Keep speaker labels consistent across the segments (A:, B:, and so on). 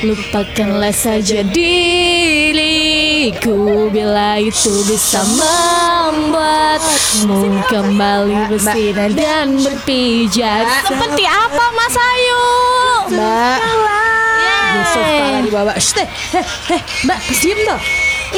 A: Lupakanlah saja diriku Bila itu bisa membuatmu kembali bersinar dan berpijak Seperti apa Mas Ayu?
B: Mbak Yusuf
A: Yeay.
B: Kala di bawah Shh, teh, heh, heh, eh, Mbak diam toh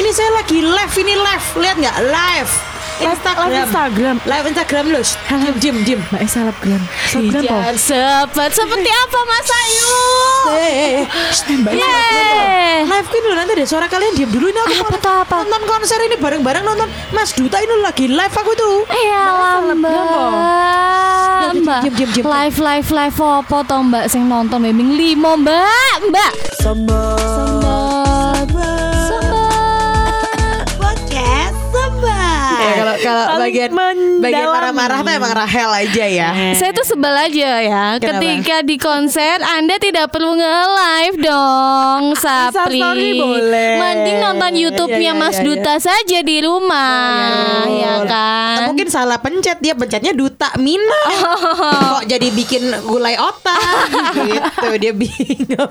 B: Ini saya lagi live Ini live Lihat nggak live Instagram
C: live Instagram.
B: Live Instagram loh Shh, Diam diam diam
C: Mbak eh, selebgram. Selebgram po.
A: Pijar sepet Seperti apa Mas Ayu?
B: Eh, eh, eh.
C: Mbak eh,
A: Yeay.
B: Live Queen loh nanti ada suara kalian diam dulu ini aku
A: Apa
B: mau
A: tuh, apa?
B: nonton konser ini bareng-bareng nonton Mas Duta ini lagi live aku tuh
A: Eyalah Iya, mbak
B: Diam,
A: Mbak
B: diam, diam, diam.
A: Live live live apa to mbak Sing nonton Weming limo mbak Mbak Sembah Sembah
B: Podcast Sembah Eh, Kalau kalau
C: Paling
B: bagian bagian
C: mendalami.
B: marah-marah tuh emang Rahel aja ya
A: Saya tuh sebel aja ya
B: Kenapa?
A: Ketika di konser Anda tidak perlu nge-live dong Sapri
B: Ah, story boleh.
A: Mending nonton Youtube-nya
B: Iya, iya,
A: Mas
B: iya, Oh,
A: Duta saja di rumah Ya kan
B: Atau iya. Nah, mungkin salah pencet dia pencetnya duta mina
A: Oh.
B: kok jadi bikin gulai otak gitu dia bingung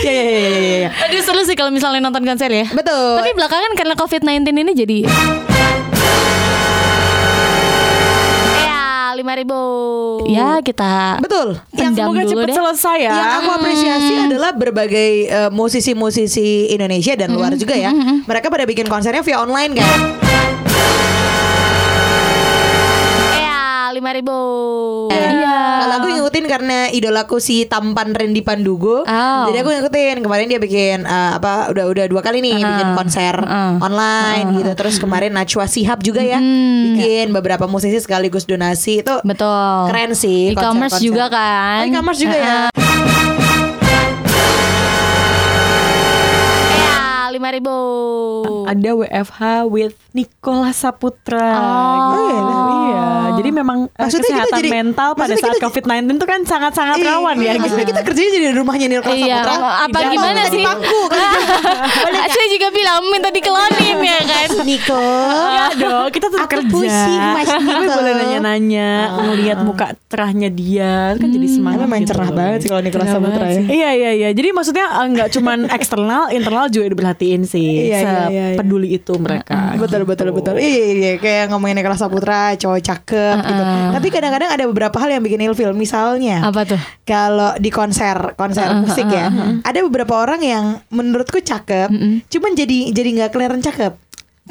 B: ya ya ya ya, ya, ya.
A: Aduh seru sih kalau misalnya nonton konser ya
B: betul
A: Tapi belakangan karena COVID-19 ini jadi Ya, 5000 Ya, kita
B: betul
C: yang
A: pendam
C: semoga
A: dulu
C: cepet
A: deh
C: selesai ya.
B: Yang aku apresiasi adalah berbagai eh, musisi-musisi Indonesia dan luar
A: Hmm,
B: juga ya. Mereka pada bikin konsernya via online kan.
A: Ya, 5000 Iya
B: Kalau aku ngikutin karena idolaku si tampan Randy Pandugo.
A: Oh.
B: Jadi aku ngikutin. Kemarin dia bikin eh, apa udah udah dua kali nih bikin konser
A: Uh-uh.
B: online gitu. Terus kemarin Najwa Sihab juga ya bikin beberapa musisi sekaligus donasi itu
A: Hmm. Betul
B: keren sih.
A: E-commerce
B: konser-konser.
A: juga kan
B: Oh, e-commerce juga ya.
A: Ya, 5000
C: ada WFH with Nicola Saputra.
A: Oh.
C: gitu. Iya. Jadi memang eh,
B: Maksudnya kita
C: kesehatan
B: jadi-
C: mental pada
B: maksudnya
C: saat
B: kita-
C: COVID-19 itu kan sangat-sangat
B: Iya,
C: rawan ya. Gitu.
B: maksudnya kita kerjanya jadi di rumahnya Nil Kelas
A: Iya,
B: Saputra.
A: apa
B: Jangan
A: gimana
B: kita di
A: sih?
B: pangku, kan?
A: Saya juga bilang minta dikelonin ya kan
B: Niko
C: Ya dong, kita tetap
B: Aku
C: kerja.
B: pusing, Mas
C: Tapi
B: Niko. Ah.
C: boleh nanya-nanya, ngelihat muka cerahnya dia, kan jadi semangat.
B: Emang
C: gitu
B: cerah
C: loh.
B: banget sih kalau Nicholas
C: Cerah
B: Saputra
C: banget
B: ya.
C: sih. Iya iya iya. Jadi maksudnya eh, nggak cuman eksternal, internal juga diperhatiin sih.
B: Iya, iya, iya, iya.
C: Peduli itu mereka.
B: betul betul betul iya iya, iya. kayak ngomongin Nicholas Saputra cowok cakep gitu tapi kadang-kadang ada beberapa hal yang bikin ilfil misalnya
A: Apa tuh?
B: kalau di konser konser musik ya ada beberapa orang yang menurutku cakep cuman jadi jadi nggak kelihatan cakep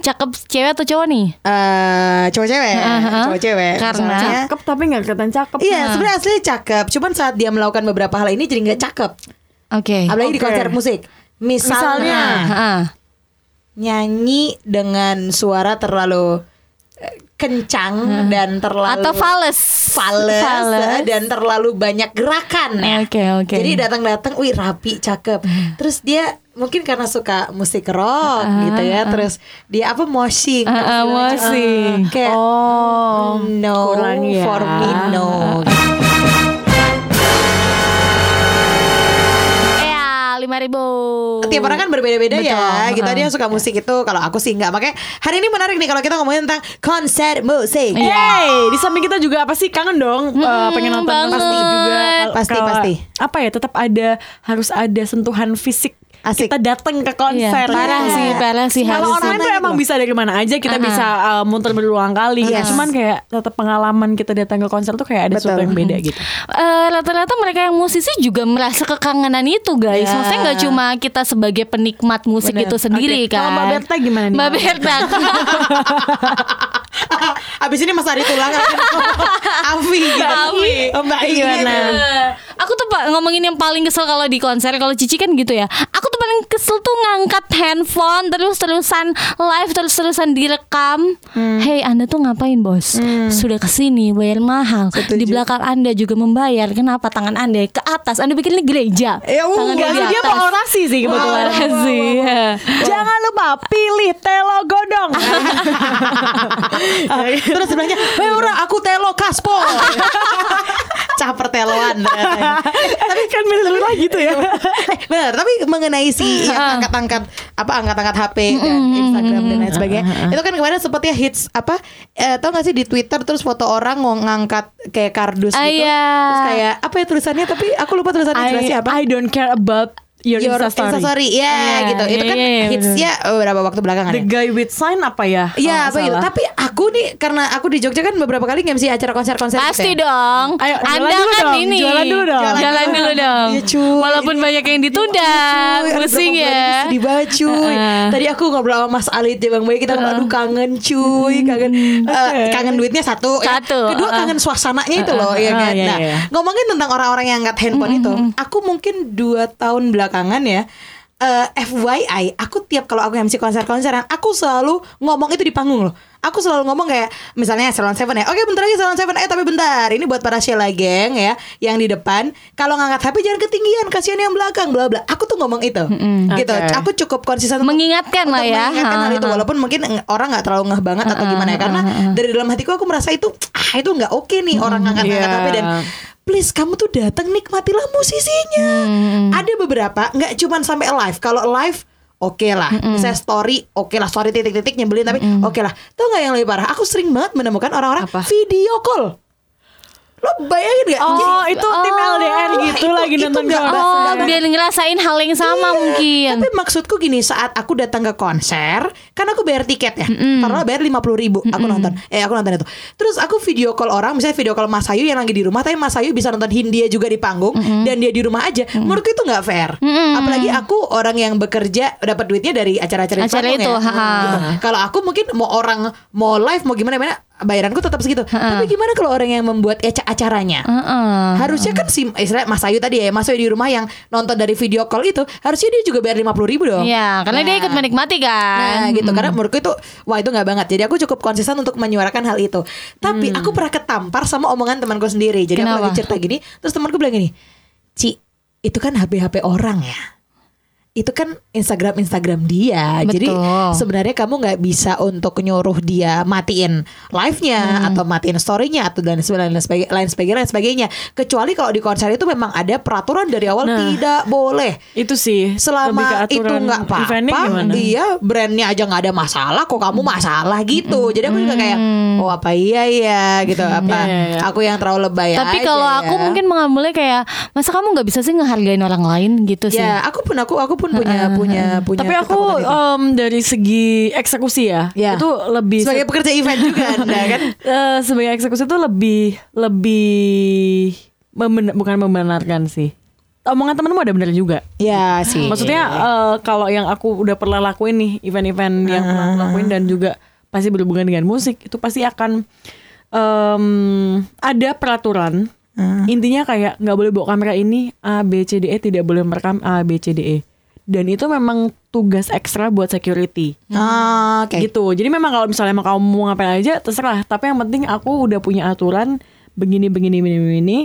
A: Cakep cewek atau cowok nih?
B: eh cowok cewek
A: Uh-huh.
B: cowok cewek
A: Karena-
B: Misalnya,
C: Cakep tapi nggak kelihatan cakep.
B: iya sebenarnya aslinya cakep cuman saat dia melakukan beberapa hal ini jadi nggak cakep
A: Eh. Oke
B: apalagi di
C: Oke.
B: konser musik misalnya,
C: Misalnya.
A: Ah,
B: nyanyi dengan suara terlalu eh, kencang dan terlalu
A: Atau fales
B: fales, eh, dan terlalu banyak gerakan ya.
A: Oke oke Ah,
B: Jadi datang-datang, wih rapi, cakep. Terus dia mungkin karena suka musik rock gitu ya. Terus dia apa moshing?
A: Ah, ah,
B: Segala macam.
A: moshing.
B: Kayak
C: Oh,
B: no
C: kurang ya.
B: for me no.
C: Eh,
A: Ya, 5000
B: Tiap orang kan berbeda-beda ya.
A: Betul,
B: Kita
A: ah.
B: dia suka musik itu. Kalau aku sih nggak. Makanya hari ini menarik nih kalau kita ngomongin tentang konser musik.
C: Iya.
A: Iya.
C: Yeay, di samping kita juga apa sih kangen dong eh, pengen nonton
A: Hmm, banget.
C: pasti juga Kalau-
B: Pasti,
C: kalau-
B: pasti.
C: Apa ya tetap ada harus ada sentuhan fisik.
B: Asik.
C: Kita datang ke
A: Iya,
C: konser.
A: parah
C: Iya.
A: sih, parah sih harus.
C: Kalau
A: gitu.
C: online tuh
B: Menarik
C: emang
B: loh.
C: bisa dari mana aja kita
A: Uh-uh.
C: bisa eh, muter berulang kali. gitu.
B: Yes.
C: Cuman kayak tetap pengalaman kita datang ke konser tuh kayak ada
B: Betul.
C: sesuatu yang beda gitu.
A: Eh, rata-rata mereka yang musisi juga merasa kekangenan itu guys
B: Ya.
A: Maksudnya nggak cuma kita sebagai penikmat musik
C: Iya. Bener.
A: itu sendiri
C: Oke.
A: kan
C: Kalau Mbak Berta gimana nih?
A: Mbak Berta
B: Abis ini Mas Ari tulangan Avi gitu.
A: Avi.
B: Oh, Mbak I
C: Gimana?
B: gitu.
A: Aku tuh Pak, ngomongin yang paling kesel kalau di konser Kalau Cici kan gitu ya Aku tuh paling kesel tuh ngangkat handphone Terus-terusan live Terus-terusan direkam
C: Hmm.
A: Hei Anda tuh ngapain bos? Sudah kesini bayar mahal Di belakang Anda juga membayar Kenapa tangan Anda ke atas? Anda bikin ini gereja
B: Ya, uh,
A: Tangan
B: Dia
A: di
C: Dia, dia
A: atas. Iya,
C: mau orasi sih kebetulan.
A: Orasi, ya.
C: Jangan lupa pilih telo godong.
B: Terus eh, sebelahnya Hei ora aku telo kaspo Caper teloan ternyata.
C: Tapi kan bener-bener gitu ya.
B: Eh, Benar, tapi mengenai si yang angkat-angkat apa angkat-angkat HP dan Instagram dan lain sebagainya. Itu kan kemarin sempat ya hits apa eh, tau gak sih di Twitter terus foto orang mau ngangkat kayak kardus gitu.
A: Ah, iya.
B: Terus kayak apa ya tulisannya tapi aku lupa tulisannya jelasnya
C: I,
B: apa.
C: I don't care about your,
B: Your
C: Instastory.
B: Instastory. Ya
A: Iya,
B: gitu. Itu kan
A: iya, iya,
B: hitsnya eh, berapa waktu belakangan
C: The
B: ya?
C: guy with sign apa
B: Iya,
C: ya? Kalau nggak
B: apa gitu.
C: salah.
B: Tapi aku nih karena aku di Jogja kan beberapa kali nge-MC acara konser-konser gitu
A: Pasti
B: ya.
A: dong.
C: Ayo, jualan
A: Anda
C: dulu
A: kan
C: dong,
A: ini.
C: jualan dulu dong. Iya,
A: Jalan dulu dong.
B: Iya, cuy.
A: Walaupun banyak yang ditunda,
B: Cuy, aduh,
A: pusing
B: Bang Boy
A: ya.
B: ini Sedih banget cuy
A: Heeh.
B: Tadi aku ngobrol sama Mas Ali di Bang Boy Kita aduh kangen cuy Kangen eh, kangen duitnya satu ya.
A: Hmm, Satu,
B: Kedua
A: heeh. Oh,
B: kangen suasananya itu loh ya
C: Ah,
B: kan?
C: iya,
B: Nah
C: iya.
B: ngomongin tentang orang-orang yang angkat handphone itu Aku mungkin dua tahun belakangan ya eh, FYI, aku tiap kalau aku MC konser-konseran, aku selalu ngomong itu di panggung loh. Aku selalu ngomong kayak misalnya Salon Seven ya, oke bentar lagi Salon Seven, eh tapi bentar, ini buat para Sheila geng ya, yang di depan. Kalau ngangkat HP jangan ketinggian, kasihan yang belakang, bla bla. Aku tuh ngomong itu, gitu.
C: Oke.
B: Aku cukup konsisten untuk-
A: Mengingatkan lah
B: untuk
A: ya.
B: mengingatkan hal itu, walaupun mungkin eng- orang nggak terlalu ngeh banget atau gimana ya, karena dari dalam hatiku aku merasa itu, ah itu nggak oke nih orang ngangkat-ngangkat
C: iya.
B: HP dan please kamu tuh datang nikmatilah musisinya.
C: Hmm.
B: Ada beberapa nggak cuman sampai live. Kalau live oke lah,
C: Hmm.
B: misalnya story oke lah, story titik-titik nyebelin tapi oke lah. Tahu nggak yang lebih parah? Aku sering banget menemukan orang-orang
A: Apa?
B: video call. Lo bayangin gak?
C: Oh, itu tim
A: Oh.
C: LDR
B: Wah,
C: gitu
B: itu-
C: lagi
B: itu
C: nonton
B: nggak
C: Jawa
A: Oh,
B: Nggak
C: Barat.
B: banget.
A: biar ngerasain hal yang sama
B: Iya,
A: mungkin.
B: Tapi maksudku gini, saat aku datang ke konser, kan aku bayar tiket ya. Karena bayar lima puluh ribu, aku nonton. Eh, aku nonton itu. Terus aku video call orang, misalnya video call Mas Ayu yang lagi di rumah, tapi Mas Ayu bisa nonton Hindia juga di panggung dan dia di rumah aja. Menurutku itu nggak fair. Apalagi aku orang yang bekerja dapat duitnya dari acara-acara di
A: Acara
B: panggung
A: itu,
B: ya.
A: ha-ha.
B: Gitu. Kalau aku mungkin mau orang mau live mau gimana gimana bayaranku tetap segitu. Tapi gimana kalau orang yang membuat aca- acaranya?
A: Heeh.
B: Harusnya kan si istilah Mas Ayu tadi ya Mas Ayu di rumah yang nonton dari video call itu Harusnya dia juga bayar 50 ribu dong
A: Iya, karena dia ikut menikmati
B: Oh. Nah
A: kan.
B: gitu Karena menurutku itu Wah itu gak banget Jadi aku cukup konsisten untuk menyuarakan hal itu Tapi aku pernah ketampar sama omongan temanku sendiri Jadi aku
A: Hmm. Kenapa?
B: lagi cerita gini Terus temanku bilang gini Ci itu kan HP-HP orang ya itu kan Instagram Instagram dia, jadi
A: Betul.
B: sebenarnya kamu nggak bisa untuk nyuruh dia matiin live-nya
A: Hmm.
B: atau matiin story-nya atau dan sebagainya lain sebagainya, lain sebagainya, lain sebagainya. kecuali kalau di konser itu memang ada peraturan dari awal
C: Nah.
B: tidak boleh
C: Itu sih lebih ke
B: selama itu
C: aturan
B: nggak
C: eventnya
B: apa-apa iya,
C: gimana?
B: dia brandnya aja nggak ada masalah kok kamu masalah gitu jadi aku juga kayak oh apa iya ya gitu apa
C: Hmm. Iya, iya, iya.
B: aku yang terlalu lebay
A: Tapi
B: aja
A: kalau
B: ya.
A: aku mungkin mengambilnya kayak masa kamu nggak bisa sih ngehargain orang lain gitu sih.
B: ya aku pun aku aku pun punya punya punya gitu.
C: Tapi aku oh,
B: ketakutan itu.
C: em, dari segi eksekusi ya,
B: Ya.
C: itu lebih
B: sebagai pekerja event juga anda kan
C: Eh, sebagai eksekusi itu lebih lebih memben- bukan membenarkan sih. Omongan temenmu ada benar juga.
B: ya sih
C: Maksudnya eh, kalau yang aku udah pernah lakuin nih event-event yang pernah aku lakuin dan juga pasti berhubungan dengan musik itu pasti akan em, ada peraturan. Intinya kayak nggak boleh bawa kamera ini A B C D E tidak boleh merekam A B C D E. Dan itu memang tugas ekstra buat security
B: Ah, oke
C: Iya. gitu jadi memang kalau misalnya emang kamu mau ngapain aja terserah tapi yang penting aku udah punya aturan begini begini begini begini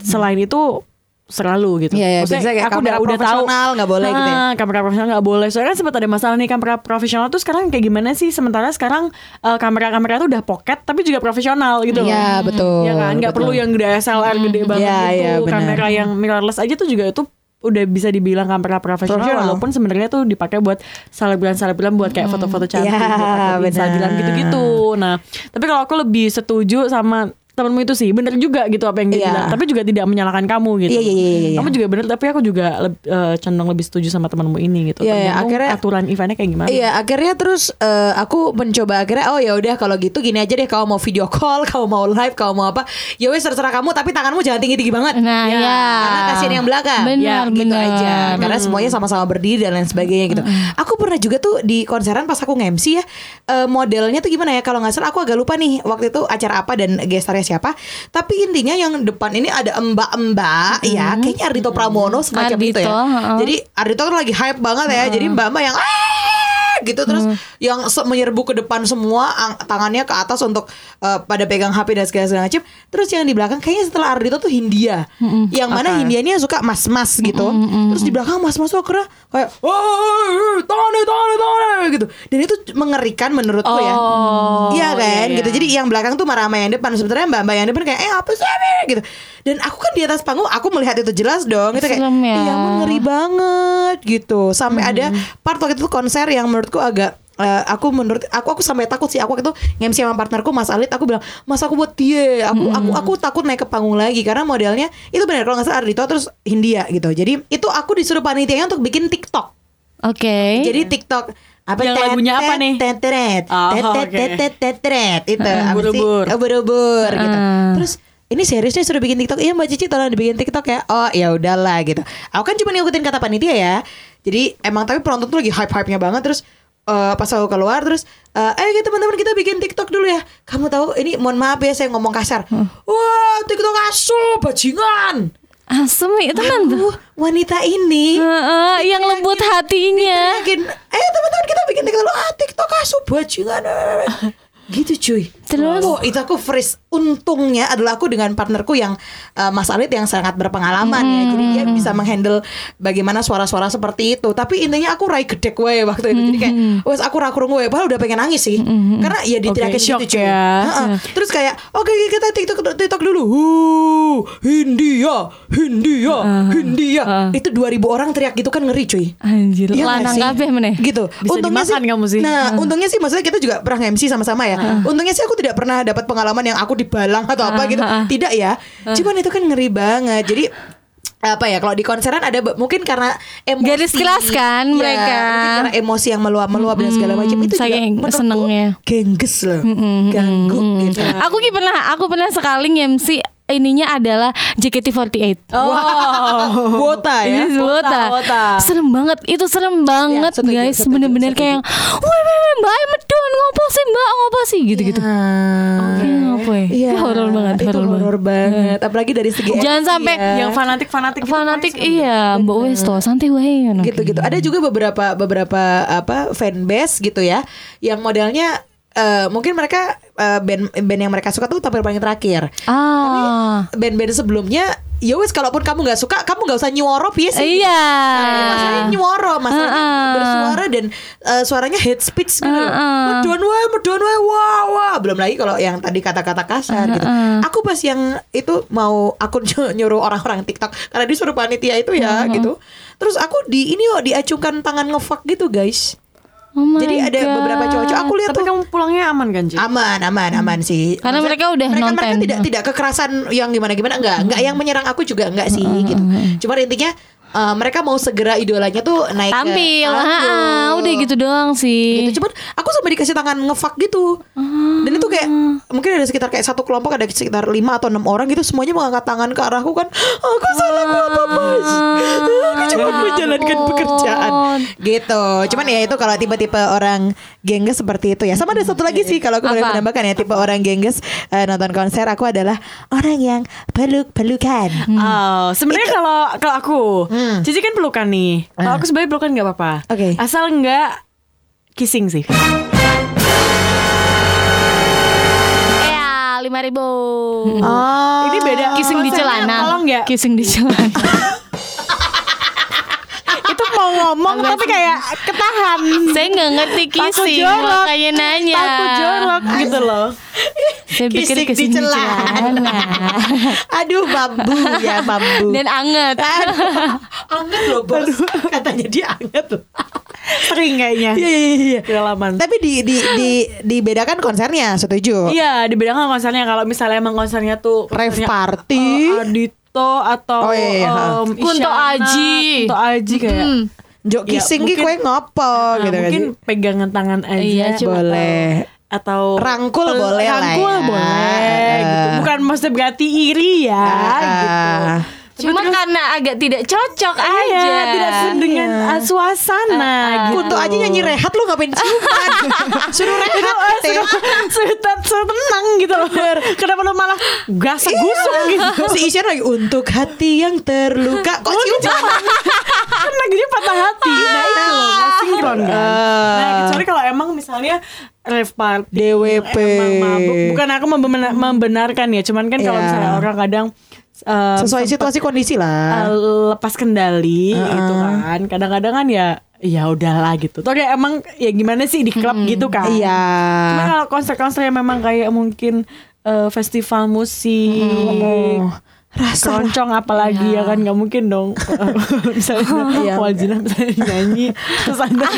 C: selain itu selalu gitu
B: Iya, iya,
C: Maksudnya
B: biasanya kayak kamera profesional nggak boleh gitu ya.
C: Nah, kamera profesional nggak boleh soalnya kan sempat ada masalah nih kamera profesional tuh sekarang kayak gimana sih sementara sekarang eh, kamera-kamera tuh udah pocket tapi juga profesional gitu loh.
B: Iya, betul,
C: Iya kan nggak
B: betul.
C: perlu yang gede SLR gede banget
B: Iya, iya,
C: gitu
B: benar.
C: kamera yang mirrorless aja tuh juga itu udah bisa dibilang kamera profesional,
B: Profesional.
C: walaupun sebenarnya tuh dipakai buat selebgram-selebgram buat kayak foto-foto cantik
B: Iya,
C: buat
B: benar.
C: Instagram gitu-gitu. Nah, tapi kalau aku lebih setuju sama temenmu itu sih bener juga gitu apa yang dia
B: Iya.
C: bilang tapi juga tidak menyalahkan kamu gitu
B: Iya, iya, iya, iya, iya.
C: kamu juga bener tapi aku juga leb- eh, cenderung lebih setuju sama temenmu ini
B: Iya,
C: gitu
B: iya,
C: Tergantung
B: akhirnya-
C: aturan eventnya kayak gimana
B: Iya, akhirnya terus eh, aku mencoba akhirnya oh ya udah kalau gitu gini aja deh kamu mau video call, kamu mau live, kamu mau apa, ya wes terserah kamu tapi tanganmu jangan tinggi-tinggi banget.
A: Nah, ya.
B: Karena kasihan yang belakang.
A: Benar,
B: Ya, gitu
A: benar.
B: aja. Karena semuanya sama-sama berdiri dan lain sebagainya gitu. Aku pernah juga tuh di konseran pas aku nge-MC ya, eh, modelnya tuh gimana ya kalau nggak salah aku agak lupa nih waktu itu acara apa dan gestarnya siapa. Tapi intinya yang depan ini ada mbak-mbak ya, kayaknya Ardito Pramono semacam itu ya.
A: Ardhito, heeh.
B: Jadi Ardito kan lagi hype banget ya. Jadi mbak-mbak yang "Ah!" gitu terus yang se- menyerbu ke depan semua ang- tangannya ke atas untuk eh, pada pegang HP dan segala segala macam terus yang di belakang kayaknya setelah Ardito tuh Hindia yang mana Hindia ini yang suka mas-mas gitu terus di belakang mas-mas tuh akhirnya kayak "Woi, tone tone tone gitu dan itu mengerikan menurutku ya
C: Oh,
B: iya
C: iya,
B: kan
C: iya.
B: gitu jadi yang belakang tuh marah sama yang depan sebenarnya mbak mbak yang depan kayak eh apa sih ini?" gitu dan aku kan di atas panggung aku melihat itu jelas dong itu kayak
A: Film ya.
B: iya ampun, ngeri banget gitu sampai ada part waktu itu konser yang menurutku agak eh, aku menurut aku aku sampai takut sih aku waktu itu MC sama partnerku Mas Alit aku bilang Mas aku buat dia aku aku aku takut naik ke panggung lagi karena modelnya itu benar kalau nggak salah Ardito terus Hindia gitu jadi itu aku disuruh panitianya untuk bikin TikTok
A: Oke.
B: jadi TikTok apa
C: Eh, iya. Yang lagunya apa nih?
B: Teteret,
C: Oh,
B: teteret,
C: oke.
B: teteret, teteret, itu apa sih?
C: Ubur-ubur.
B: Eh, Ubur-ubur gitu.
A: Ah.
B: Terus ini seriusnya suruh bikin TikTok. Iya Mbak Cici tolong dibikin TikTok ya. Oh, ya udahlah gitu. Aku kan cuma ngikutin kata panitia ya. Jadi emang tapi penonton tuh lagi hype-hype-nya banget terus eh, pas aku keluar terus eh ayo kita teman-teman kita bikin TikTok dulu ya. Kamu tahu ini mohon maaf ya saya ngomong kasar.
C: Hmm.
B: Wah, TikTok asu bajingan.
A: Asem ya
B: Iya.
A: teman tuh.
B: Aduh, wanita
C: Hmm.
B: ini
A: Heeh,
B: Iya,
A: yang lembut
B: gitu.
A: hatinya.
B: yakin ayo eh, teman-teman kita bikin TikTok dulu ah TikTok asu bajingan nah, gitu cuy
A: Terus?
B: Wah, itu aku freeze untungnya adalah aku dengan partnerku yang eh, Mas Alit yang sangat berpengalaman ya jadi dia
C: Hmm.
B: bisa menghandle bagaimana suara-suara seperti itu tapi intinya aku rai gedek wae waktu itu jadi kayak
C: Hmm.
B: wes aku rakurung wae padahal udah pengen nangis sih karena ya diteriakin
C: Oke, shock
B: gitu cuy
C: ya.
B: Heeh. terus kayak oke kita TikTok TikTok dulu Huh, Hindia Hindia Hindia itu 2000 orang teriak gitu kan ngeri cuy
A: Anjir,
B: Iya
A: lanang
B: nggak sih?
A: kabeh meneh.
B: Gitu.
C: Bisa dimakan kamu sih.
B: Nah, untungnya sih maksudnya kita juga pernah MC sama-sama ya. Untungnya sih aku tidak pernah dapat pengalaman yang aku dibalang atau apa gitu. Tidak ya. Cuman itu kan ngeri banget. Jadi apa ya kalau di konseran ada be- mungkin karena emosi
A: Garis keras kan
B: Ya,
A: mereka.
B: mungkin karena emosi yang meluap-meluap dan segala macam itu
A: saya yang
B: juga menurutku
A: Hmm, senengnya.
B: gengges loh ganggu gitu
A: Aku ki pernah, aku pernah sekali MC ininya adalah JKT48.
C: Oh.
B: Wota ya
A: Ini wota.
C: wota.
A: Serem banget, itu serem banget
B: setuju,
A: guys.
B: setuju,
A: Bener-bener
B: setuju.
A: kayak yang,
B: gitu.
A: woi woi woi, mbak medun ngopo sih mbak ngopo sih
B: Iya,
A: gitu-gitu.
B: Ah,
A: Iya, ngopo ya?
B: iya.
A: Itu horor banget,
B: Itu
A: horor banget.
B: horor banget apalagi dari segi
A: Jangan
B: emosi
A: sampai
B: ya.
C: Yang fanatik-fanatik gitu,
A: fanatik
C: Prince.
A: iya, mbak wes toh santai wae. ngono.
B: gitu-gitu. Ada juga beberapa beberapa apa fanbase gitu ya yang modelnya eh, mungkin mereka eh, band band yang mereka suka tuh tampil paling terakhir.
A: Ah,
B: Tapi band-band sebelumnya ya wes kalaupun kamu nggak suka kamu nggak usah nyuoro ya sih.
A: iya.
B: Masalahnya nyuoro, masalahnya
A: Heeh.
B: bersuara dan eh, suaranya head speech gitu. loh.
A: Heeh.
B: Medon wae, medon wae, wah wah. Belum lagi kalau yang tadi kata-kata kasar
A: Ah,
B: gitu. Aku pas yang itu mau aku ny- nyuruh orang-orang TikTok karena disuruh panitia itu
A: Ah,
B: ya gitu. Terus aku di ini yo diacukan tangan ngefak gitu guys.
A: Oh my
B: Jadi ada
A: God.
B: beberapa cowok-cowok aku lihat
C: Tapi
B: tuh
C: kamu pulangnya aman kan, Ci?
B: aman aman aman sih
A: Karena mereka udah
B: mereka, mereka
A: nonton. Hmm.
B: tidak tidak kekerasan yang gimana gimana enggak enggak yang menyerang aku juga enggak sih gitu cuma intinya eh, mereka mau segera idolanya tuh naik ke
A: tampil.
B: panggung.
A: Ah, udah gitu doang sih.
B: gitu cuman aku sampai dikasih tangan ngefak gitu
A: Ah.
B: dan itu kayak mungkin ada sekitar kayak satu kelompok ada sekitar lima atau enam orang gitu semuanya mengangkat tangan ke arahku kan aku salah aku apa bos aku cuma menjalankan
A: Ah. ya ampun.
B: pekerjaan gitu cuman ya itu kalau tipe-tipe orang gengges seperti itu ya sama ada satu lagi sih kalau aku boleh
A: Apa?
B: menambahkan ya tipe orang gengges eh, nonton konser aku adalah orang yang peluk pelukan
C: Oh, sebenarnya kalau kalau aku, Cici kan pelukan nih. Kalau aku sebenarnya pelukan nggak apa-apa.
B: Oke.
C: Asal nggak kissing sih.
A: Ya, lima ribu.
B: oh
C: Ini beda.
A: Kissing di
C: Konsernya
A: celana.
C: Tolong Ah.
B: ya.
C: nggak?
A: Kissing di celana.
C: Itu mau ngomong tapi kayak ketahan.
A: Saya nggak ngerti
C: Takut
A: kissing,
C: jorok.
A: makanya nanya.
C: Takut jorok gitu loh.
A: Saya pikir kissing
B: Kissing di
A: di
B: celana.
A: celana.
B: aduh bambu ya bambu
A: Dan anget.
B: Aduh, anget loh bos katanya dia anget loh
C: Sering kayaknya.
B: iya iya iya
C: Kedalaman.
B: tapi di di di dibedakan konsernya setuju
C: Iya, dibedakan konsernya kalau misalnya emang konsernya tuh
B: Rave
C: konsernya,
B: party.
C: eh, Adito atau
B: Oh, iya, iya.
C: em,
A: Kunto
C: Isyana,
A: Aji.
C: Kunto Aji kayak
B: Hmm. jok
C: Ya,
B: kissing ki
C: mungkin-
B: kue ngopo
C: Nah,
B: gitu kan
C: mungkin pegangan tangan aja
A: Iya, cuma-
B: Boleh.
C: atau
B: Rangkul
C: pel-
B: boleh lah
C: rangkul
B: ya.
C: boleh gitu. bukan maksudnya berarti iri ya
B: Ah,
C: gitu
B: ah.
A: Cuma karena agak tidak cocok
C: Iya,
A: aja.
C: tidak sesuai dengan uh, suasana gitu.
B: Kunto aja nyanyi rehat lu ngapain ciuman Suruh
C: Itu,
B: rehat gitu.
C: eh,
B: Teo.
C: suruh, suruh, ten- suruh tenang gitu loh Kenapa lu malah gasak gusuk gitu
B: Si Isyana lagi Untuk hati yang terluka Kok ciuman
C: kan lagunya patah hati nah itu loh nggak sinkron kan
B: Eh,
C: nah kecuali kalau emang misalnya rave party
B: DWP.
C: emang mabuk bukan aku membena- membenarkan ya cuman kan kalau
B: Iya.
C: misalnya orang kadang eh,
B: sesuai situasi kondisi lah
C: eh, lepas kendali
B: eh,
C: gitu kan kadang-kadang kan ya ya udahlah gitu toh ya emang ya gimana sih di klub gitu kan
B: iya
C: Cuma kalau konser-konser yang memang kayak mungkin eh, festival musik,
B: Hmm. rasa lah. Iya.
C: keroncong apalagi ya kan nggak mungkin dong misalnya Waljina misalnya nyanyi terus anda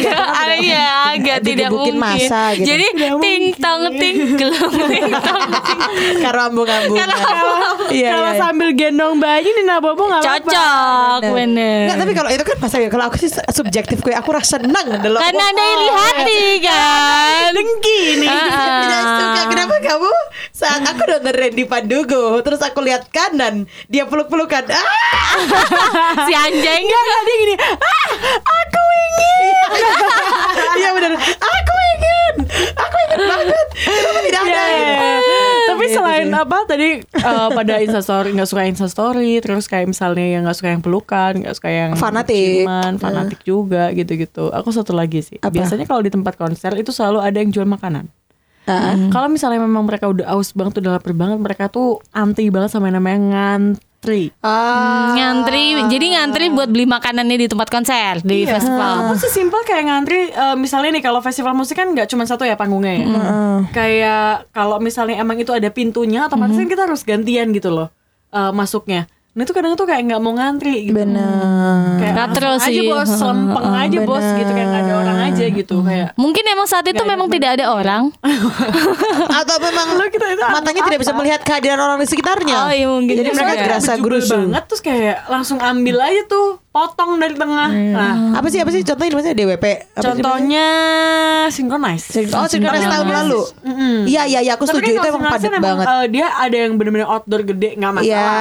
A: Ah, Iya, agak tidak
B: digebukin
A: mungkin.
B: masa gitu.
A: Jadi
C: Tidak
A: ting tong ting gelung ting tong ting.
B: Ah, karo ambung-ambung Iya,
C: kalau
B: iya, iya.
C: sambil gendong bayi Nina Bobo nggak apa-apa
A: Cocok, bener.
B: Nggak, tapi kalau itu kan masa kalau aku sih subjektif gue aku rasa seneng delok
A: Karena ada yang di hati kan.
B: dengki nih
A: Ah.
B: tidak suka kenapa kamu saat aku denger Randy Pandugo terus aku lihat kanan dia peluk-pelukan ah
A: Si anjing.
C: tadi gini ah aku
B: iya benar aku ingin aku ingin banget kenapa tidak ada
C: Iya. Tapi selain apa tadi eh, pada instastory nggak suka instastory, terus kayak misalnya yang nggak suka yang pelukan, nggak suka yang
B: Fanatik.
C: ciuman, fanatik Iya. juga gitu-gitu. Aku satu lagi sih. Biasanya kalau di tempat konser itu selalu ada yang jual makanan. Hmm. Kalau misalnya memang mereka udah aus banget, udah lapar banget, mereka tuh anti banget sama yang namanya ngantri.
B: ah
A: Ngantri, jadi ngantri buat beli makanannya di tempat konser, di
B: Iya.
A: festival.
C: Aku
B: Ah.
C: sih simpel kayak ngantri eh, misalnya nih kalau festival musik kan nggak cuma satu ya panggungnya ya. Kayak kalau misalnya emang itu ada pintunya otomatis kan kita harus gantian gitu loh eh, masuknya. Nah itu kadang tuh kayak nggak mau ngantri gitu.
B: benar
C: Kayak
A: Katro
C: langsung
A: sih.
C: aja bos, selempeng aja bos gitu kayak nggak ada orang aja gitu kayak.
A: Mungkin emang saat itu memang tidak ada orang.
B: atau memang
C: Lo kita itu
B: matanya tidak bisa melihat kehadiran orang di sekitarnya
A: Oh iya mungkin.
B: jadi mereka
C: ya.
A: juga.
B: gerasa
C: bejubel
B: gerusung
C: banget terus kayak langsung ambil aja tuh potong dari tengah. Nah
B: apa sih apa sih contohnya maksudnya DWP Apa sih?
C: contohnya synchronize.
B: Oh, Synchronize tahun lalu. Iya, iya, iya, aku
C: Tapi
B: setuju
C: kan
B: itu
C: kalau
B: emang
C: Sinarasi
B: padat banget.
C: eh, dia ada yang benar-benar outdoor gede nggak masalah.
B: Iya,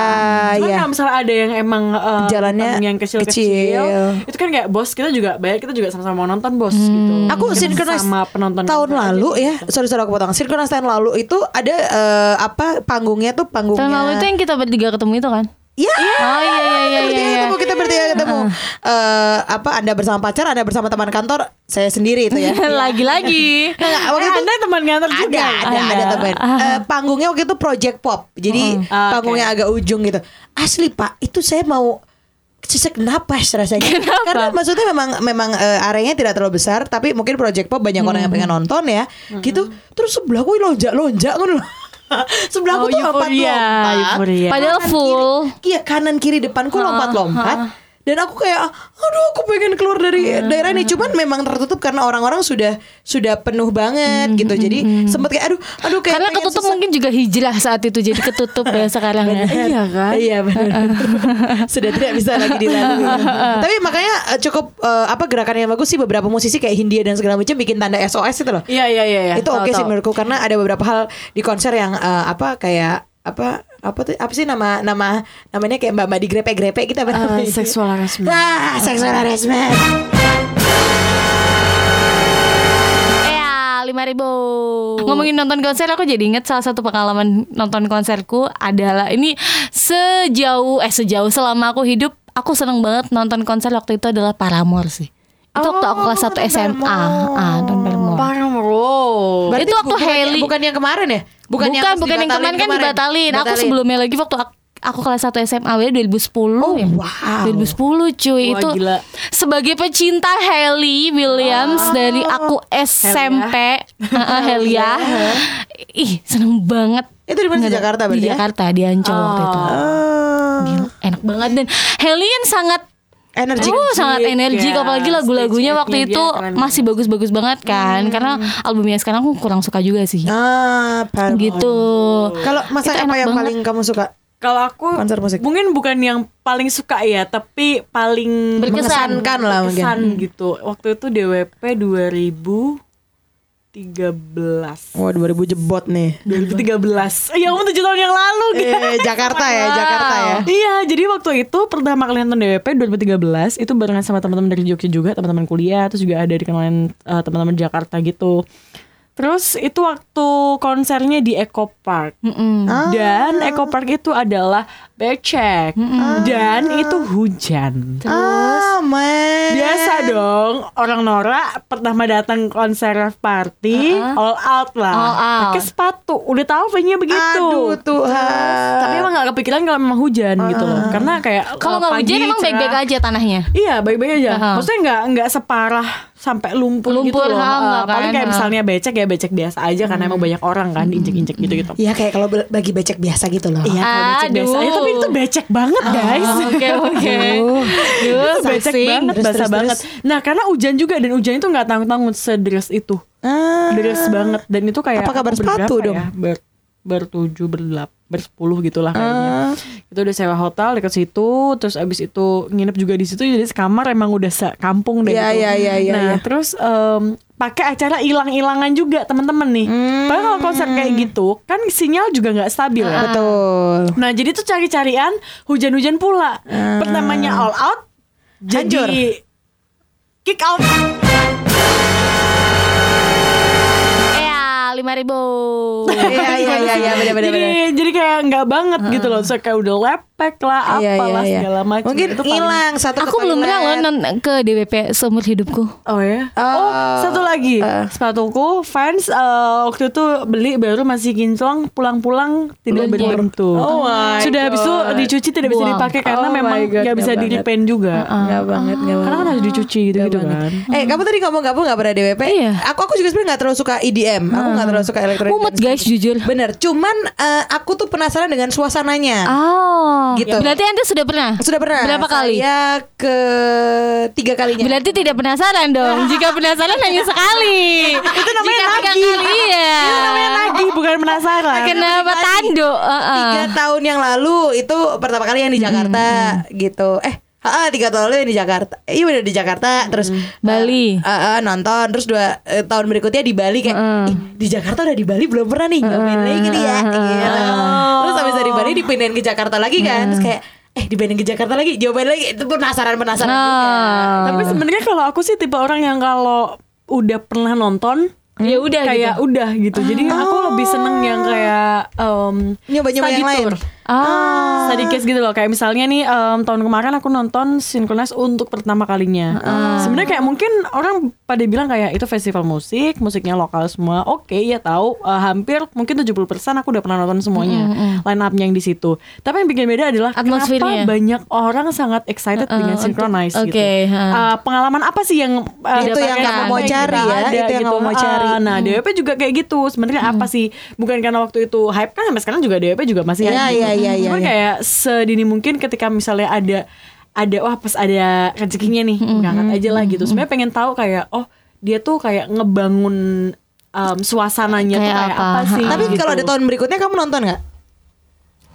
C: Cuman
B: iya.
C: kalau misalnya ada yang emang eh,
B: Jalannya
C: yang kecil-kecil,
B: kecil. Hmm.
C: itu kan kayak bos kita juga bayar kita juga sama-sama mau nonton bos gitu.
B: Aku
C: Kita
B: sinkronis
C: sama penonton
B: tahun
C: konser aja
B: lalu
C: gitu.
B: ya. Sorry sorry aku potong. Sinkronis tahun lalu itu ada eh, apa panggungnya tuh panggungnya.
A: Tahun lalu itu yang kita bertiga ketemu itu kan?
B: Iya.
A: Oh iya iya iya iya.
B: Kita bertiga
A: iya.
B: ketemu, kita bertiga ketemu. Eh, apa Anda bersama pacar, Anda bersama teman kantor, saya sendiri itu ya.
A: Lagi-lagi.
B: Nah, nggak,
C: Eh,
B: waktu itu
C: anda teman nganter
B: ada,
C: juga.
B: ada, ada, teman. Eh, panggungnya waktu itu Project Pop. Jadi eh,
C: Ah, oke.
B: panggungnya agak ujung gitu. Asli Pak, itu saya mau sesek napas rasanya. Karena maksudnya memang memang eh, areanya tidak terlalu besar, tapi mungkin Project Pop banyak orang yang pengen nonton ya. Gitu. Terus sebelah gue lonjak-lonjak ngono loh. sebelah aku
C: Oh,
B: tuh lompat-lompat.
C: euforia, euforia.
A: Padahal
B: Kanan,
A: full.
B: kiri. Iya, kanan kiri depanku lompat-lompat. Dan aku kayak aduh aku pengen keluar dari
A: Hmm.
B: daerah ini cuman memang tertutup karena orang-orang sudah sudah penuh banget gitu. Jadi sempet kayak aduh aduh
A: Hmm,
B: kayak
A: Karena
B: pengen
A: ketutup
B: sesak.
A: mungkin juga hijrah saat itu jadi ketutup ya sekarang ya.
C: Iya kan?
B: Iya benar. Sudah tidak bisa lagi dilalui. Tapi makanya eh, cukup eh, apa gerakan yang bagus sih beberapa musisi kayak Hindia dan segala macam bikin tanda SOS itu loh.
C: Iya iya iya. iya.
B: itu
C: Tahu,
B: oke sih
C: tahu.
B: menurutku karena ada beberapa hal di konser yang eh, apa kayak apa apa tuh apa sih nama nama namanya kayak mbak mbak di grepe grepe kita
A: Ah,
B: apa namanya?
C: Eh, seksual harassment.
B: ah seksual harassment
A: Iya, lima ribu. Ngomongin nonton konser, aku jadi inget salah satu pengalaman nonton konserku adalah ini sejauh eh sejauh selama aku hidup, aku seneng banget nonton konser waktu itu adalah Paramore sih. Itu waktu aku kelas 1 SMA. Ah, nonton Oh, Paramore.
C: Parang bro.
B: Berarti
A: Itu waktu
B: bukan-
A: Hailey.
B: bukan yang kemarin ya
A: Bukan, bukan,
B: yang pas
A: yang, kemarin kan dibatalin. Aku sebelumnya lagi waktu aku, aku kelas 1 SMA W 2010 ya.
B: wow.
A: 2010 cuy
C: Wah,
A: itu
C: gila.
A: sebagai pecinta Hailey Williams dari aku SMP Heeh, Helia. Ih, seneng banget.
B: itu di mana di Jakarta
A: Di
B: berarti ya?
A: Jakarta, di Ancol waktu itu.
B: Oh.
A: Enak banget dan Hailey yang sangat
B: energi
A: Uh, sangat energi
C: ya.
A: apalagi lagu-lagunya
C: Stage
A: waktu
C: act-nya
A: itu
C: dia keren
A: masih bagus-bagus banget kan karena albumnya sekarang aku kurang suka juga sih.
B: ah par-
A: Gitu.
B: kalau masa
A: Itu
B: apa
A: enak
B: yang
A: banget.
B: paling kamu suka
C: Kalau aku
B: Konser musik.
C: mungkin bukan yang paling suka ya, tapi paling
A: Berkesan.
B: Mengesankan Kan lah mungkin. Hmm.
C: berkesan gitu. Waktu itu DWP 2013.
B: wah 2000 jebot nih
C: 2013. Ya ampun 7 tahun yang lalu gitu.
B: eh, Jakarta ya Jakarta ya
C: Iya, jadi waktu itu pertama kali nonton DWP 2013 itu barengan sama teman-teman dari Jogja juga, teman-teman kuliah, terus juga ada dikenalin eh, teman-teman Jakarta gitu. Terus itu waktu konsernya di Eco Park. Oh,
A: Mm-mm.
B: Ah.
C: Dan Eco Park itu adalah becek dan itu hujan.
B: Ah, man.
C: Biasa dong orang Nora pertama datang konser party all out lah.
A: All out.
C: Pakai sepatu, udah tahu vibe-nya
A: gitu.
C: begitu.
B: Aduh Tuhan.
C: Tapi emang gak kepikiran kalau memang hujan gitu loh. Karena kayak
A: Kalau
C: uh,
A: nggak
C: pagi,
A: hujan emang
C: cerah.
A: baik-baik aja tanahnya.
C: Iya baik-baik aja.
A: Aha.
C: Maksudnya nggak nggak separah sampai lumpur, gitu
A: Lumpur,
C: loh.
A: ha,
C: Uh,
A: nggak
C: paling
A: kan,
C: kayak
A: ha.
C: misalnya becek ya becek biasa aja karena emang banyak orang kan injek-injek gitu gitu.
A: Iya,
B: Ya kayak kalau be- bagi becek biasa gitu loh.
C: Iya kalau becek biasa aja
A: Aduh.
C: tapi itu becek banget guys.
A: Oke oke.
C: Duh, becek
B: Saking.
C: banget,
B: Terus,
C: basah
B: terus,
C: banget. Nah, karena hujan juga dan hujan itu nggak tanggung-tanggung sederes itu.
B: Ah.
C: Deres banget dan itu kayak
B: Apa kabar
C: aku berberapa
B: sepatu dong?
C: Ya? Ber, bertujuh, berlap, bersepuluh gitulah gitu kayaknya.
B: Ah.
C: Itu udah sewa hotel dekat situ, terus abis itu nginep juga di situ jadi sekamar emang udah sekampung deh
B: Iya,
C: gitu.
B: iya, iya, iya,
C: nah,
B: iya.
C: terus em, pakai acara ilang-ilangan juga teman-teman nih.
B: Hmm.
C: Padahal kalau konser kayak gitu kan sinyal juga nggak stabil
B: Ah.
C: ya.
B: Betul.
C: Nah jadi tuh cari-carian hujan-hujan pula. Pertamanya all out, jadi
B: Ah. Hancur.
C: kick out.
A: Ya lima ribu.
B: Iya iya iya iya benar benar
C: Ah. jadi
B: benar.
C: jadi kayak nggak banget gitu loh. So, kayak udah lepek lah,
B: Iya, iya,
C: apalah
B: iya.
C: segala macam.
B: Mungkin
C: Itu paling-
B: hilang satu
A: Aku
B: ke
A: belum
B: toilet.
A: pernah loh non- ke DWP seumur hidupku.
C: Oh ya.
B: Oh, Eh.
C: oh, satu lagi sepatuku fans eh, waktu itu beli baru masih kinclong pulang-pulang tidak
A: Belum
C: berbentuk.
B: Oh my
C: Sudah habis itu
B: God.
C: dicuci tidak bisa
A: Buang.
C: dipakai karena
B: Oh my
C: memang
B: God,
C: nggak bisa
B: nggak
C: di
B: banget.
C: repaint juga.
B: Enggak banget, enggak
A: Ah.
C: Karena kan harus dicuci gitu gitu kan.
B: Eh kamu tadi ngomong kamu gak pernah DWP
A: Iya. Ah.
B: Aku aku juga sebenarnya gak terlalu suka EDM Aku gak terlalu suka elektronik
A: Mumet guys jujur.
B: Bener Cuman eh, aku tuh penasaran dengan suasananya
A: Oh,
B: Gitu.
C: Ya.
A: berarti anda sudah pernah?
B: Sudah pernah
A: Berapa kali?
B: Ya ke tiga kalinya
A: Berarti tidak penasaran dong. Jika penasaran hanya sekali. Itu
C: namanya
A: Jika tiga
C: nagih.
A: kali ya.
C: Itu namanya lagi bukan penasaran.
A: Kenapa tanduk? Heeh.
B: Tiga tahun yang lalu itu pertama kali yang di
A: Hmm,
B: Jakarta gitu Eh ah, ah, tiga tahun lalu yang di Jakarta Iya bener di Jakarta Terus
A: Hmm. Bali.
C: Iya.
B: eh, eh, eh, nonton Terus dua eh, tahun berikutnya di Bali kayak "Ih, Di Jakarta udah di Bali belum pernah nih Nyobain lagi gitu ya Gitu. Terus habis dari Bali dipindahin ke Jakarta lagi kan Terus kayak Eh dipindahin ke Jakarta lagi Cobain lagi Itu penasaran-penasaran
A: Nah, Oh.
B: juga
C: Tapi sebenarnya kalau aku sih tipe orang yang kalau udah pernah nonton
A: Ya
B: Iya,
A: udah
C: kayak udah gitu. Jadi
B: Ah.
C: aku lebih seneng yang kayak em,
B: Nyoba-nyoba
C: study
B: yang lain.
C: tour.
B: Ah.
A: Ah,
C: Study case gitu loh. Kayak misalnya nih em, tahun kemarin aku nonton Synchronize untuk pertama kalinya.
B: Ah.
C: Sebenarnya kayak mungkin orang pada bilang kayak itu festival musik, musiknya lokal semua. Oke, ya tahu Eh, hampir mungkin 70% aku udah pernah nonton semuanya. Line up-nya yang di situ. Tapi yang bikin beda adalah
A: Atmosfernya.
C: kenapa banyak orang sangat excited
B: Ah,
C: dengan Synchronize
A: untuk-
C: gitu.
A: oke, ha.
C: Eh, pengalaman apa sih yang eh,
B: Itu yang
C: dapatkan
B: kamu
C: apa
B: mau
C: kita
B: cari ya,
C: ada
B: itu yang
C: gitu.
B: kamu mau cari.
C: Ah, Nah, DWP juga kayak gitu. Sebenarnya
B: Hmm.
C: apa sih? Bukan karena waktu itu hype kan sampai sekarang juga DWP juga masih
B: Iya,
C: hype.
B: iya, iya, iya,
C: Cuman
B: iya.
C: kayak sedini mungkin ketika misalnya ada ada wah pas ada rezekinya nih,
B: Hmm,
C: berangkat aja lah gitu. Sebenarnya pengen tahu kayak oh, dia tuh kayak ngebangun um, suasananya tuh
A: Kayak
C: kayak apa,
A: apa,
C: sih?
B: Tapi
C: gitu.
B: kalau ada tahun berikutnya kamu nonton nggak?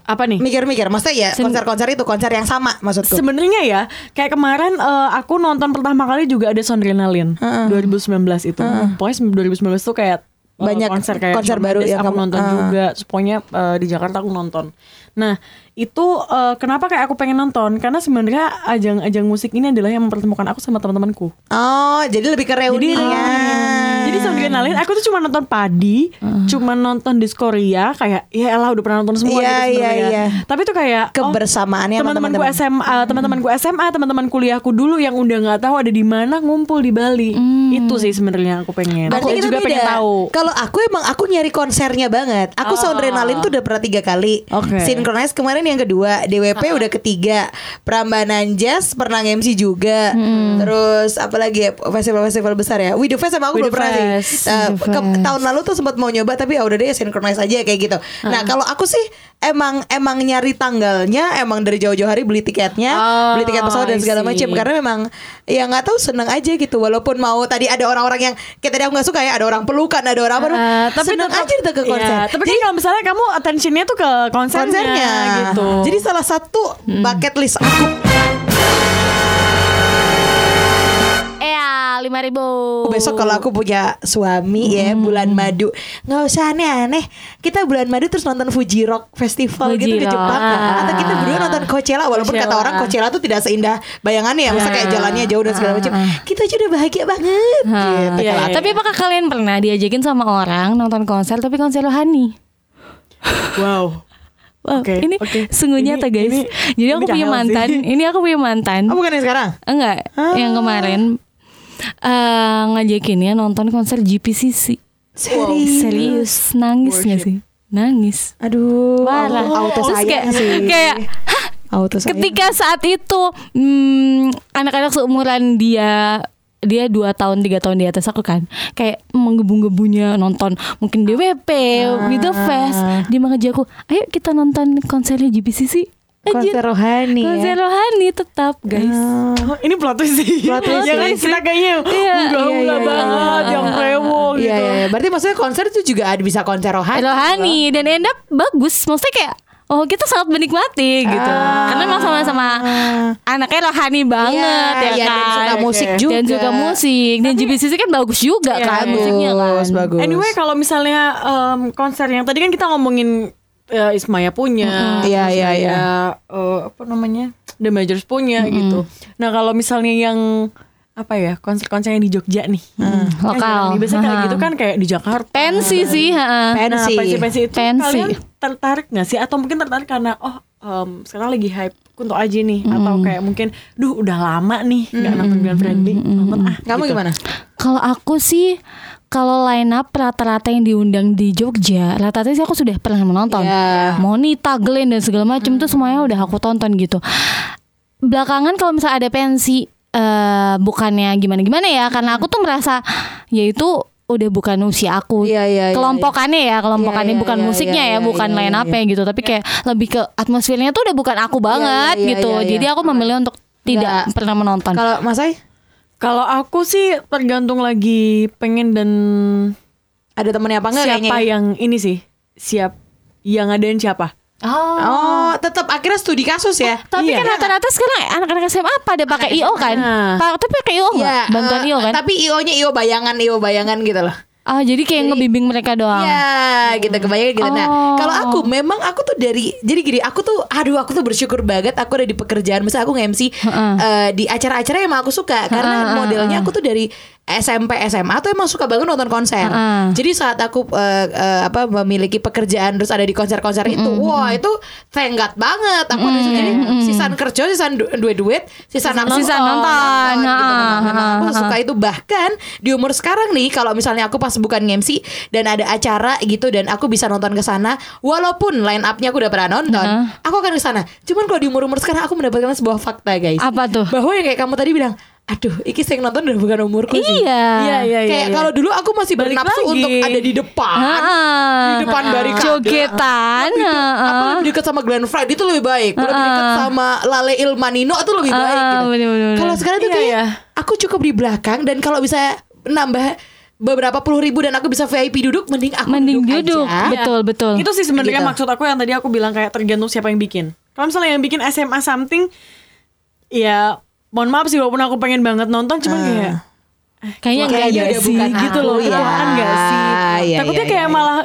C: apa nih?
B: Mikir-mikir, maksudnya ya
A: Sen-
B: konser-konser itu konser yang sama maksudku.
C: Sebenarnya ya, kayak kemarin eh, aku nonton pertama kali juga ada Sondrenalin 2019 itu. Pokoknya 2019 tuh kayak eh,
B: Banyak konser
C: Shawn
B: baru
C: Mendes
B: yang
C: aku
B: kamu-
C: nonton
B: ah.
C: juga. Terus Pokoknya eh, di Jakarta aku nonton. Nah, itu eh, kenapa kayak aku pengen nonton? Karena sebenarnya ajang-ajang musik ini adalah yang mempertemukan aku sama teman-temanku.
B: Oh, jadi lebih ke reuni
C: Jadi, oh, iya.
B: ya.
C: jadi Sondrenalin aku tuh cuma nonton Padi, cuma nonton Diskoria kayak ya elah udah pernah nonton semua
B: Iya,
C: gitu
B: iya,
C: sebenarnya.
B: iya.
C: Tapi tuh kayak oh,
B: Kebersamaannya sama
C: teman-temanku
B: teman-teman.
C: SMA, teman-temanku SMA, teman-teman kuliahku dulu yang udah nggak tahu ada di mana ngumpul di Bali. Itu sih sebenarnya yang aku pengen.
B: Hmm. Berarti
C: aku
B: kita
C: juga
B: beda.
C: pengen tahu. Ah.
B: Kalau aku emang aku nyari konsernya banget. Aku Soundrenalin tuh udah pernah tiga kali.
C: Oke. Ah.
B: Synchronize kemarin yang kedua, DWP udah ketiga, Prambanan Jazz pernah MC juga.
C: Hmm.
B: Terus apalagi ya festival-festival besar ya. We The Fest sama aku
C: We
B: belum
C: The
B: pernah sih.
C: Fest.
B: Eh, ke- tahun lalu tuh sempat mau nyoba tapi ya udah deh Synchronize aja kayak gitu. Nah, kalau aku sih emang emang nyari tanggalnya, emang dari jauh-jauh hari beli tiketnya,
C: Oh,
B: beli tiket pesawat dan
C: I
B: segala
C: see.
B: macam karena memang ya nggak tahu seneng aja gitu walaupun mau tadi ada orang-orang yang kayak tadi aku nggak suka ya ada orang pelukan ada orang apa
C: Eh,
B: seneng
C: tetap-
B: aja kita ke
C: Iya,
B: konser
C: tapi kan
B: Jadi,
C: kalau misalnya kamu attentionnya tuh ke konsernya,
B: konsernya
C: gitu. Hmm.
B: jadi salah satu bucket list aku
A: Ya 5000 lima ribu.
B: Oh, Besok kalau aku punya suami ya bulan madu nggak usah aneh-aneh kita bulan madu terus nonton Fuji Rock Festival gitu di
A: Fuji Rock.
B: Jepang atau kita berdua nonton Coachella walaupun kata
C: Coachella.
B: orang Coachella tuh tidak seindah bayangannya ya masa kayak jalannya jauh dan segala macam kita aja udah bahagia banget gitu
C: Iya,
B: kalau
C: iya.
B: aku-
A: Ah, Tapi apakah kalian pernah diajakin sama orang nonton konser tapi konser rohani?
C: Wow.
A: Wow,
C: Oke,
A: ini
C: oke.
A: sungguh
C: Ini-
A: nyata guys.
C: ini-
A: Jadi
C: ini
A: aku punya
C: jahil sih.
A: mantan. Ini aku punya mantan.
B: oh, bukan yang sekarang
A: Enggak,
C: Ah.
A: yang kemarin eh ngajakinnya nonton konser GPCC.
B: serius
A: Serius, nangis nggak sih? Nangis.
B: aduh
A: Parah.
B: Oh, auto
A: Terus
B: sayang
A: kayak,
B: sih
A: kayak
B: auto sayang
A: ketika saat itu hmm, anak-anak seumuran dia dia dua tahun tiga tahun di atas aku kan kayak menggebu-gebunya nonton mungkin DWP
B: Ah.
A: With The Fest gitu, dia mengajak aku ayo kita nonton konsernya GBCC
B: konser
A: Anjir,
B: rohani ya. Ah.
A: konser rohani tetap guys
C: Oh, ini plot twist sih.
B: Plot twist
C: Ya kan
A: sih.
C: kita kayaknya
A: Iya,
C: gaul
B: iya, iya,
C: banget
B: iya.
C: yang rewo gitu.
B: Iya, iya, iya. berarti maksudnya konser itu juga ada bisa konser rohani.
A: rohani dan end up bagus maksudnya kayak oh kita sangat menikmati gitu karena emang sama-sama anaknya rohani banget
B: Ah. Iya,
A: ya
B: iya,
A: kan
B: dan suka musik
A: dan
B: juga.
A: suka musik dan GBCC kan bagus juga
C: Iya,
A: kan
C: iya.
A: musiknya kan
B: Bagus, bagus.
C: Anyway, kalau misalnya em, konser yang tadi kan kita ngomongin eh, Ismaya punya,
B: Mm-mm. Iya,
C: terus
B: iya,
C: ada,
B: iya.
C: eh, apa namanya The Majors punya gitu. Nah kalau misalnya yang apa ya konser-konser yang di Jogja nih,
B: Mm,
C: Kan
A: lokal.
C: jarang nih. Biasanya kayak
A: Ha-ha.
C: gitu kan kayak di Jakarta.
A: pensi sih ha-ha.
B: Pensi.
C: Nah, pensi-pensi itu
A: Pensi.
C: kalian tertarik nggak sih? Atau mungkin tertarik karena oh em, sekarang lagi hype Kunto Aji nih, atau kayak mungkin, duh udah lama nih nggak nonton Glenn Fredly, nonton ah.
B: Kamu gimana?
A: kalau aku sih kalau line up rata-rata yang diundang di Jogja rata-rata sih aku sudah pernah menonton
B: Iya. Hmm.
A: Monita Glenn dan segala macam tuh semuanya udah aku tonton gitu belakangan kalau misalnya ada pensi eh bukannya gimana-gimana ya karena aku tuh merasa yaitu udah bukan usia aku
B: Iya, iya, iya,
A: kelompokannya ya kelompokannya
B: Iya, iya,
A: bukan
B: iya,
A: musiknya
B: iya,
A: ya
B: iya,
A: bukan
B: iya,
A: line
B: iya,
A: up-nya gitu tapi kayak lebih ke atmosfernya tuh udah bukan aku banget
B: iya,
A: gitu
B: iya, iya.
A: jadi aku memilih untuk tidak
B: Nggak.
A: pernah menonton
B: Kalau Mas Ai
C: Kalau aku sih tergantung lagi pengen dan
B: ada temennya apa enggak
C: siapa ya?
B: kayaknya? ya?
C: yang ini sih siap yang ngadain siapa.
A: oh
B: Oh, tetap akhirnya studi kasus ya.
A: Tapi
C: Iya.
A: kan rata-rata sekarang anak-anak SMA pada pakai IO kan?
C: Nah.
A: Pa- tapi pakai IO Oh, nggak?
B: Iya,
A: Bantuan
B: eh,
A: IO kan?
B: Tapi IO-nya IO bayangan, IO bayangan gitu loh.
A: Ah, jadi kayak ngebimbing mereka doang.
B: Iya, gitu kebayang gitu. Nah,
A: Oh.
B: kalau aku memang aku tuh dari jadi gini, aku tuh aduh aku tuh bersyukur banget aku ada di pekerjaan misalnya aku nge-MC eh, di acara-acara yang emang aku suka karena modelnya aku tuh dari SMP SMA tuh emang suka banget nonton konser.
A: Heeh.
B: Jadi saat aku eh, eh, apa memiliki pekerjaan terus ada di konser-konser itu, wah itu thank God banget. Aku disitu jadi sisan kerja, sisan du- duit-duit, sisan nonton,
A: sisan nonton.
B: gitu.
A: Heeh,
B: Memang- memang aku
A: heeh,
B: suka itu bahkan di umur sekarang nih kalau misalnya aku pas bukan MC dan ada acara gitu dan aku bisa nonton ke sana walaupun line up-nya aku udah pernah nonton aku akan ke sana cuman kalau di umur umur sekarang aku mendapatkan sebuah fakta guys
A: Apa tuh?
B: bahwa yang kayak kamu tadi bilang aduh iki yang nonton udah bukan umurku sih
A: Iya.
C: Ah,
B: kayak kalau dulu aku masih
C: Balik
B: bernafsu
C: lagi.
B: untuk ada di depan
A: Ah,
B: di depan barikade
A: Jogetan.
B: Aku
A: ah, ah.
B: lebih dekat sama Glenn Fred itu lebih baik. Aku lebih dekat sama Lale Ilmanino itu lebih
A: Ah,
B: baik. gitu.
A: bener-bener.
B: Kalau sekarang tuh
C: Iya,
B: kayak
C: iya.
B: aku cukup di belakang dan kalau bisa nambah beberapa puluh ribu dan aku bisa VIP duduk, mending aku
A: Mending
B: duduk,
A: duduk.
B: aja.
A: Betul, betul.
C: Itu sih sebenarnya
B: Gitu.
C: maksud aku yang tadi aku bilang kayak tergantung siapa yang bikin. Kalau misalnya yang bikin SMA something ya mohon maaf sih walaupun aku pengen banget nonton cuman kayak
A: Kayaknya enggak
B: Kayaknya
A: ada
B: udah
A: sih.
B: bukan
C: Ih, Iya, gitu
B: aku,
C: loh
B: ya.
C: kelewatan nggak sih
B: Iya,
C: takutnya
B: iya,
C: kayak
B: iya,
C: malah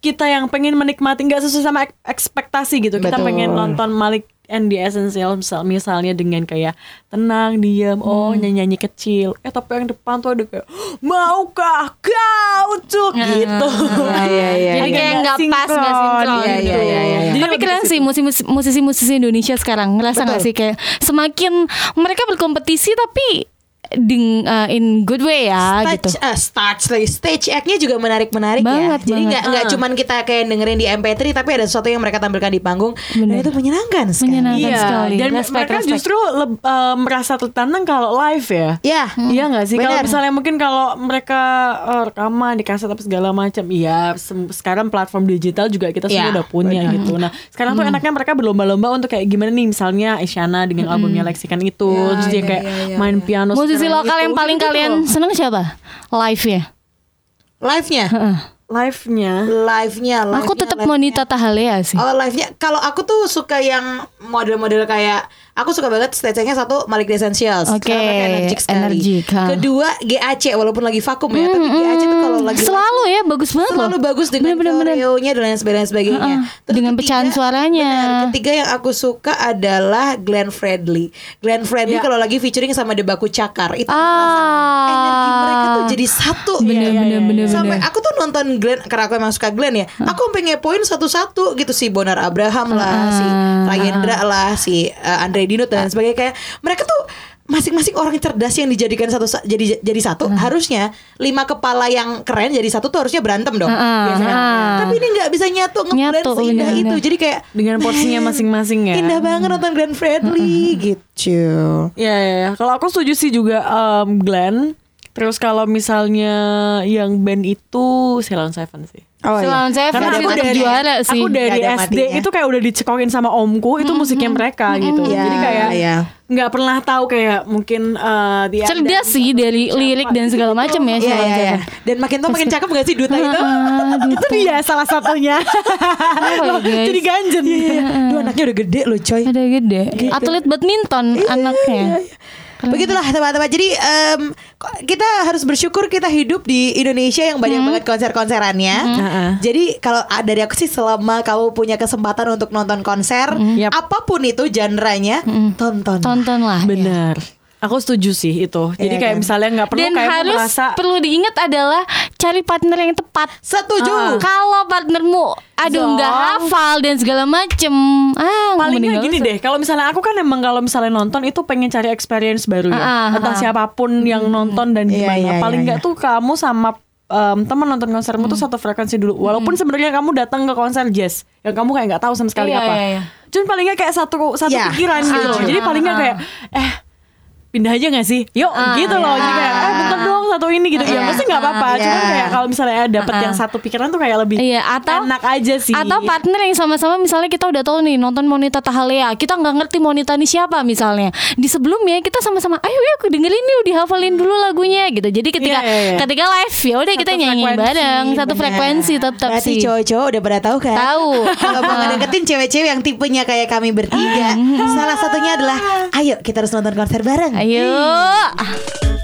C: kita yang pengen menikmati nggak sesuai sama ek- ekspektasi gitu kita
B: Betul.
C: pengen nonton Malik and the Essential misal- misalnya dengan kayak tenang diam oh
B: Hmm.
C: nyanyi nyanyi kecil eh tapi yang depan tuh ada kayak maukah kau tuh gitu
A: Ah,
B: Iya, iya, iya,
A: Jadi
B: iya.
A: kayak nggak pas, nggak sinkron
B: Iya,
A: gitu.
B: iya, iya, iya, iya.
C: Jadi
A: Tapi
C: lebih
A: keren
C: ke
A: sih
C: situ.
A: musisi- musisi-musisi Indonesia sekarang ngerasa nggak sih kayak semakin mereka berkompetisi tapi deng- eh, in good way ya gitu.
B: Stage, eh, stage, lagi. stage act-nya juga menarik-menarik ya.
A: Banget,
B: Jadi
A: banget. Ah.
B: nggak nggak cuman kita kayak dengerin di MP3 tapi ada sesuatu yang mereka tampilkan di panggung dan
A: Bener.
B: itu menyenangkan sekali.
A: Menyenangkan.
C: Iya,
A: sekali.
C: dan
A: Respect,
C: mereka
A: respect.
C: justru leb- eh, merasa tertantang kalau live ya.
B: Iya.
A: Hmm.
C: Iya nggak sih? Kalau
B: Benar.
C: misalnya mungkin kalau mereka eh, rekaman di kaset apa segala macam, iya. sem- Sekarang platform digital juga kita semua
B: Iya,
C: udah punya gitu. Nah, sekarang tuh enaknya mereka berlomba-lomba untuk kayak gimana nih, misalnya Isyana dengan albumnya Lexikan itu, terus dia kayak main piano.
A: Musisi
C: sekeren
A: lokal
C: itu,
A: yang paling
C: gitu-gitu
A: kalian
C: gitu. loh.
A: seneng siapa? Live ya.
B: Live-nya,
C: live-nya.
B: live-nya.
A: Aku
B: live-nya, Oh,
A: tetap
B: live-nya.
A: Monita Tahalea sih.
B: Oh live-nya Kalau aku tuh suka yang Model-model kayak Aku suka banget stage-nya satu Malik The Essentials.
A: Oke,
B: Karena mereka energik sekali.
A: energik, ha. Hmm,
B: Kedua GAC walaupun lagi vakum ya, tapi GAC itu kalau lagi
A: Selalu ya bagus banget
B: selalu
A: loh.
B: bagus dengan
A: Bener, bener, bener.
B: koreonya dan lain sebagainya. sebagainya.
A: Heeh,
B: Terus
A: dengan pecahan suaranya.
B: benar. ketiga yang aku suka adalah Glenn Fredly. Glenn Fredly kalau lagi featuring sama Debaku Cakar itu
A: Ya. Ah.
B: kerasa energi mereka tuh jadi satu.
A: Bener,
B: Iya,
A: bener,
B: iya,
A: bener,
B: iya. Sampai
A: bener.
B: aku tuh nonton Glenn karena aku emang suka Glenn ya. Aku sampai ngepoin satu-satu gitu si Bonar Abraham lah, si Rayendra lah, si uh, Andre Dinut dan lain sebagainya kayak mereka tuh masing-masing orang cerdas yang dijadikan satu sa- jadi jadi satu harusnya lima kepala yang keren jadi satu tuh harusnya berantem dong
A: Heeh,
B: biasanya.
A: heeh.
B: Tapi ini nggak bisa nyatu ngeblend
A: Nyatu,
B: seindah
A: bener-bener.
B: itu. Jadi kayak
C: Dengan porsinya masing-masing ya.
B: indah banget nonton Grand Friendly gitu.
C: Ya, ya, ya. Kalau aku setuju sih juga em, Glenn. Terus kalau misalnya yang band itu Ceylon Seven sih.
B: Oh,
A: Selalu saya versi
B: Karena aku
A: tetap
B: dari-
A: juara sih. Mm-hmm.
C: Aku dari
B: Nggak ada
C: SD
B: matinya.
C: itu kayak udah dicekokin sama omku itu musiknya mereka gitu.
B: Ya,
C: Jadi kayak
B: ya.
C: nggak pernah tahu kayak mungkin eh, dia ada-
A: cerdas sih dari lirik dan segala macam ya
B: Iya,
A: Shalom
B: iya, iya.
A: Seven.
B: Dan makin tua makin cakep gak sih duta itu?
A: Ah, gitu.
C: itu dia Gitu. Iya, salah satunya.
A: Kenapa ya,
C: Loh,
A: guys? Iya.
C: Jadi ganjen.
B: Dua anaknya udah gede loh coy.
A: Ada gede.
B: Gitu.
A: Atlet badminton
B: Iya,
A: anaknya.
B: Begitulah
A: gitu.
B: teman-teman. Jadi em, ko- kita harus bersyukur kita hidup di Indonesia yang banyak banget konser-konserannya.
C: Heeh.
B: Jadi kalau ah, dari aku sih selama kamu punya kesempatan untuk nonton konser
C: Yap.
B: apapun itu genre-nya, tonton.
A: Tontonlah.
C: Benar. Aku setuju sih itu.
B: Iya
C: Jadi kayak
B: kan?
C: misalnya nggak perlu
A: Dan
C: kayak
A: harus
C: merasa
A: perlu diingat adalah cari partner yang tepat.
B: Setuju.
A: Kalau partnermu aduh
C: Zong.
A: nggak hafal dan segala macem ah mending
C: Palingnya gini
A: nggak usah.
C: deh, kalau misalnya aku kan emang kalau misalnya nonton itu pengen cari experience baru ya.
A: Ah, ah,
C: Entah
A: ah.
C: siapapun yang nonton dan
B: Iya,
C: gimana.
B: iya,
C: Paling
B: iya,
C: nggak
B: iya.
C: tuh kamu sama em, teman nonton konsermu
A: Hmm.
C: tuh satu frekuensi dulu. Walaupun sebenarnya kamu datang ke konser jazz yang kamu kayak nggak tahu sama sekali
A: Iya,
C: apa.
A: iya, Ah, iya.
C: Cuman paling nggak kayak satu satu
B: Ya,
C: pikiran gitu.
B: setuju.
C: loh. Jadi paling nggak kayak
A: ah.
C: eh pindah aja gak sih? Yuk gitu loh. Jadi
A: iya.
C: kayak eh bentar dong satu ini gitu.
B: Iya.
C: ya pasti
A: ah,
C: nggak apa-apa.
B: Iya.
C: Cuman kayak kalau misalnya eh, dapet yang satu pikiran tuh kayak lebih
A: Iya, atau-
C: enak aja sih.
A: Atau partner yang sama-sama misalnya kita udah tahu nih nonton Monita Tahalea, kita nggak ngerti Monita ini siapa misalnya. Di sebelumnya kita sama-sama, ayo yuk dengerin nih, dihafalin dulu lagunya gitu. Jadi ketika
C: Iya, iya, iya.
A: ketika live ya udah kita
C: Satu
A: nyanyi
C: frekuensi,
A: bareng, satu
C: benar. ya.
A: frekuensi tetap
B: Berarti
A: sih.
B: cowok-cowok udah pada tahu kan?
A: Tahu.
B: Kalau mau ngedeketin cewek-cewek yang tipenya kayak
A: Ah.
B: kami bertiga, salah satunya adalah ayo kita harus nonton konser bareng.
A: Ayo.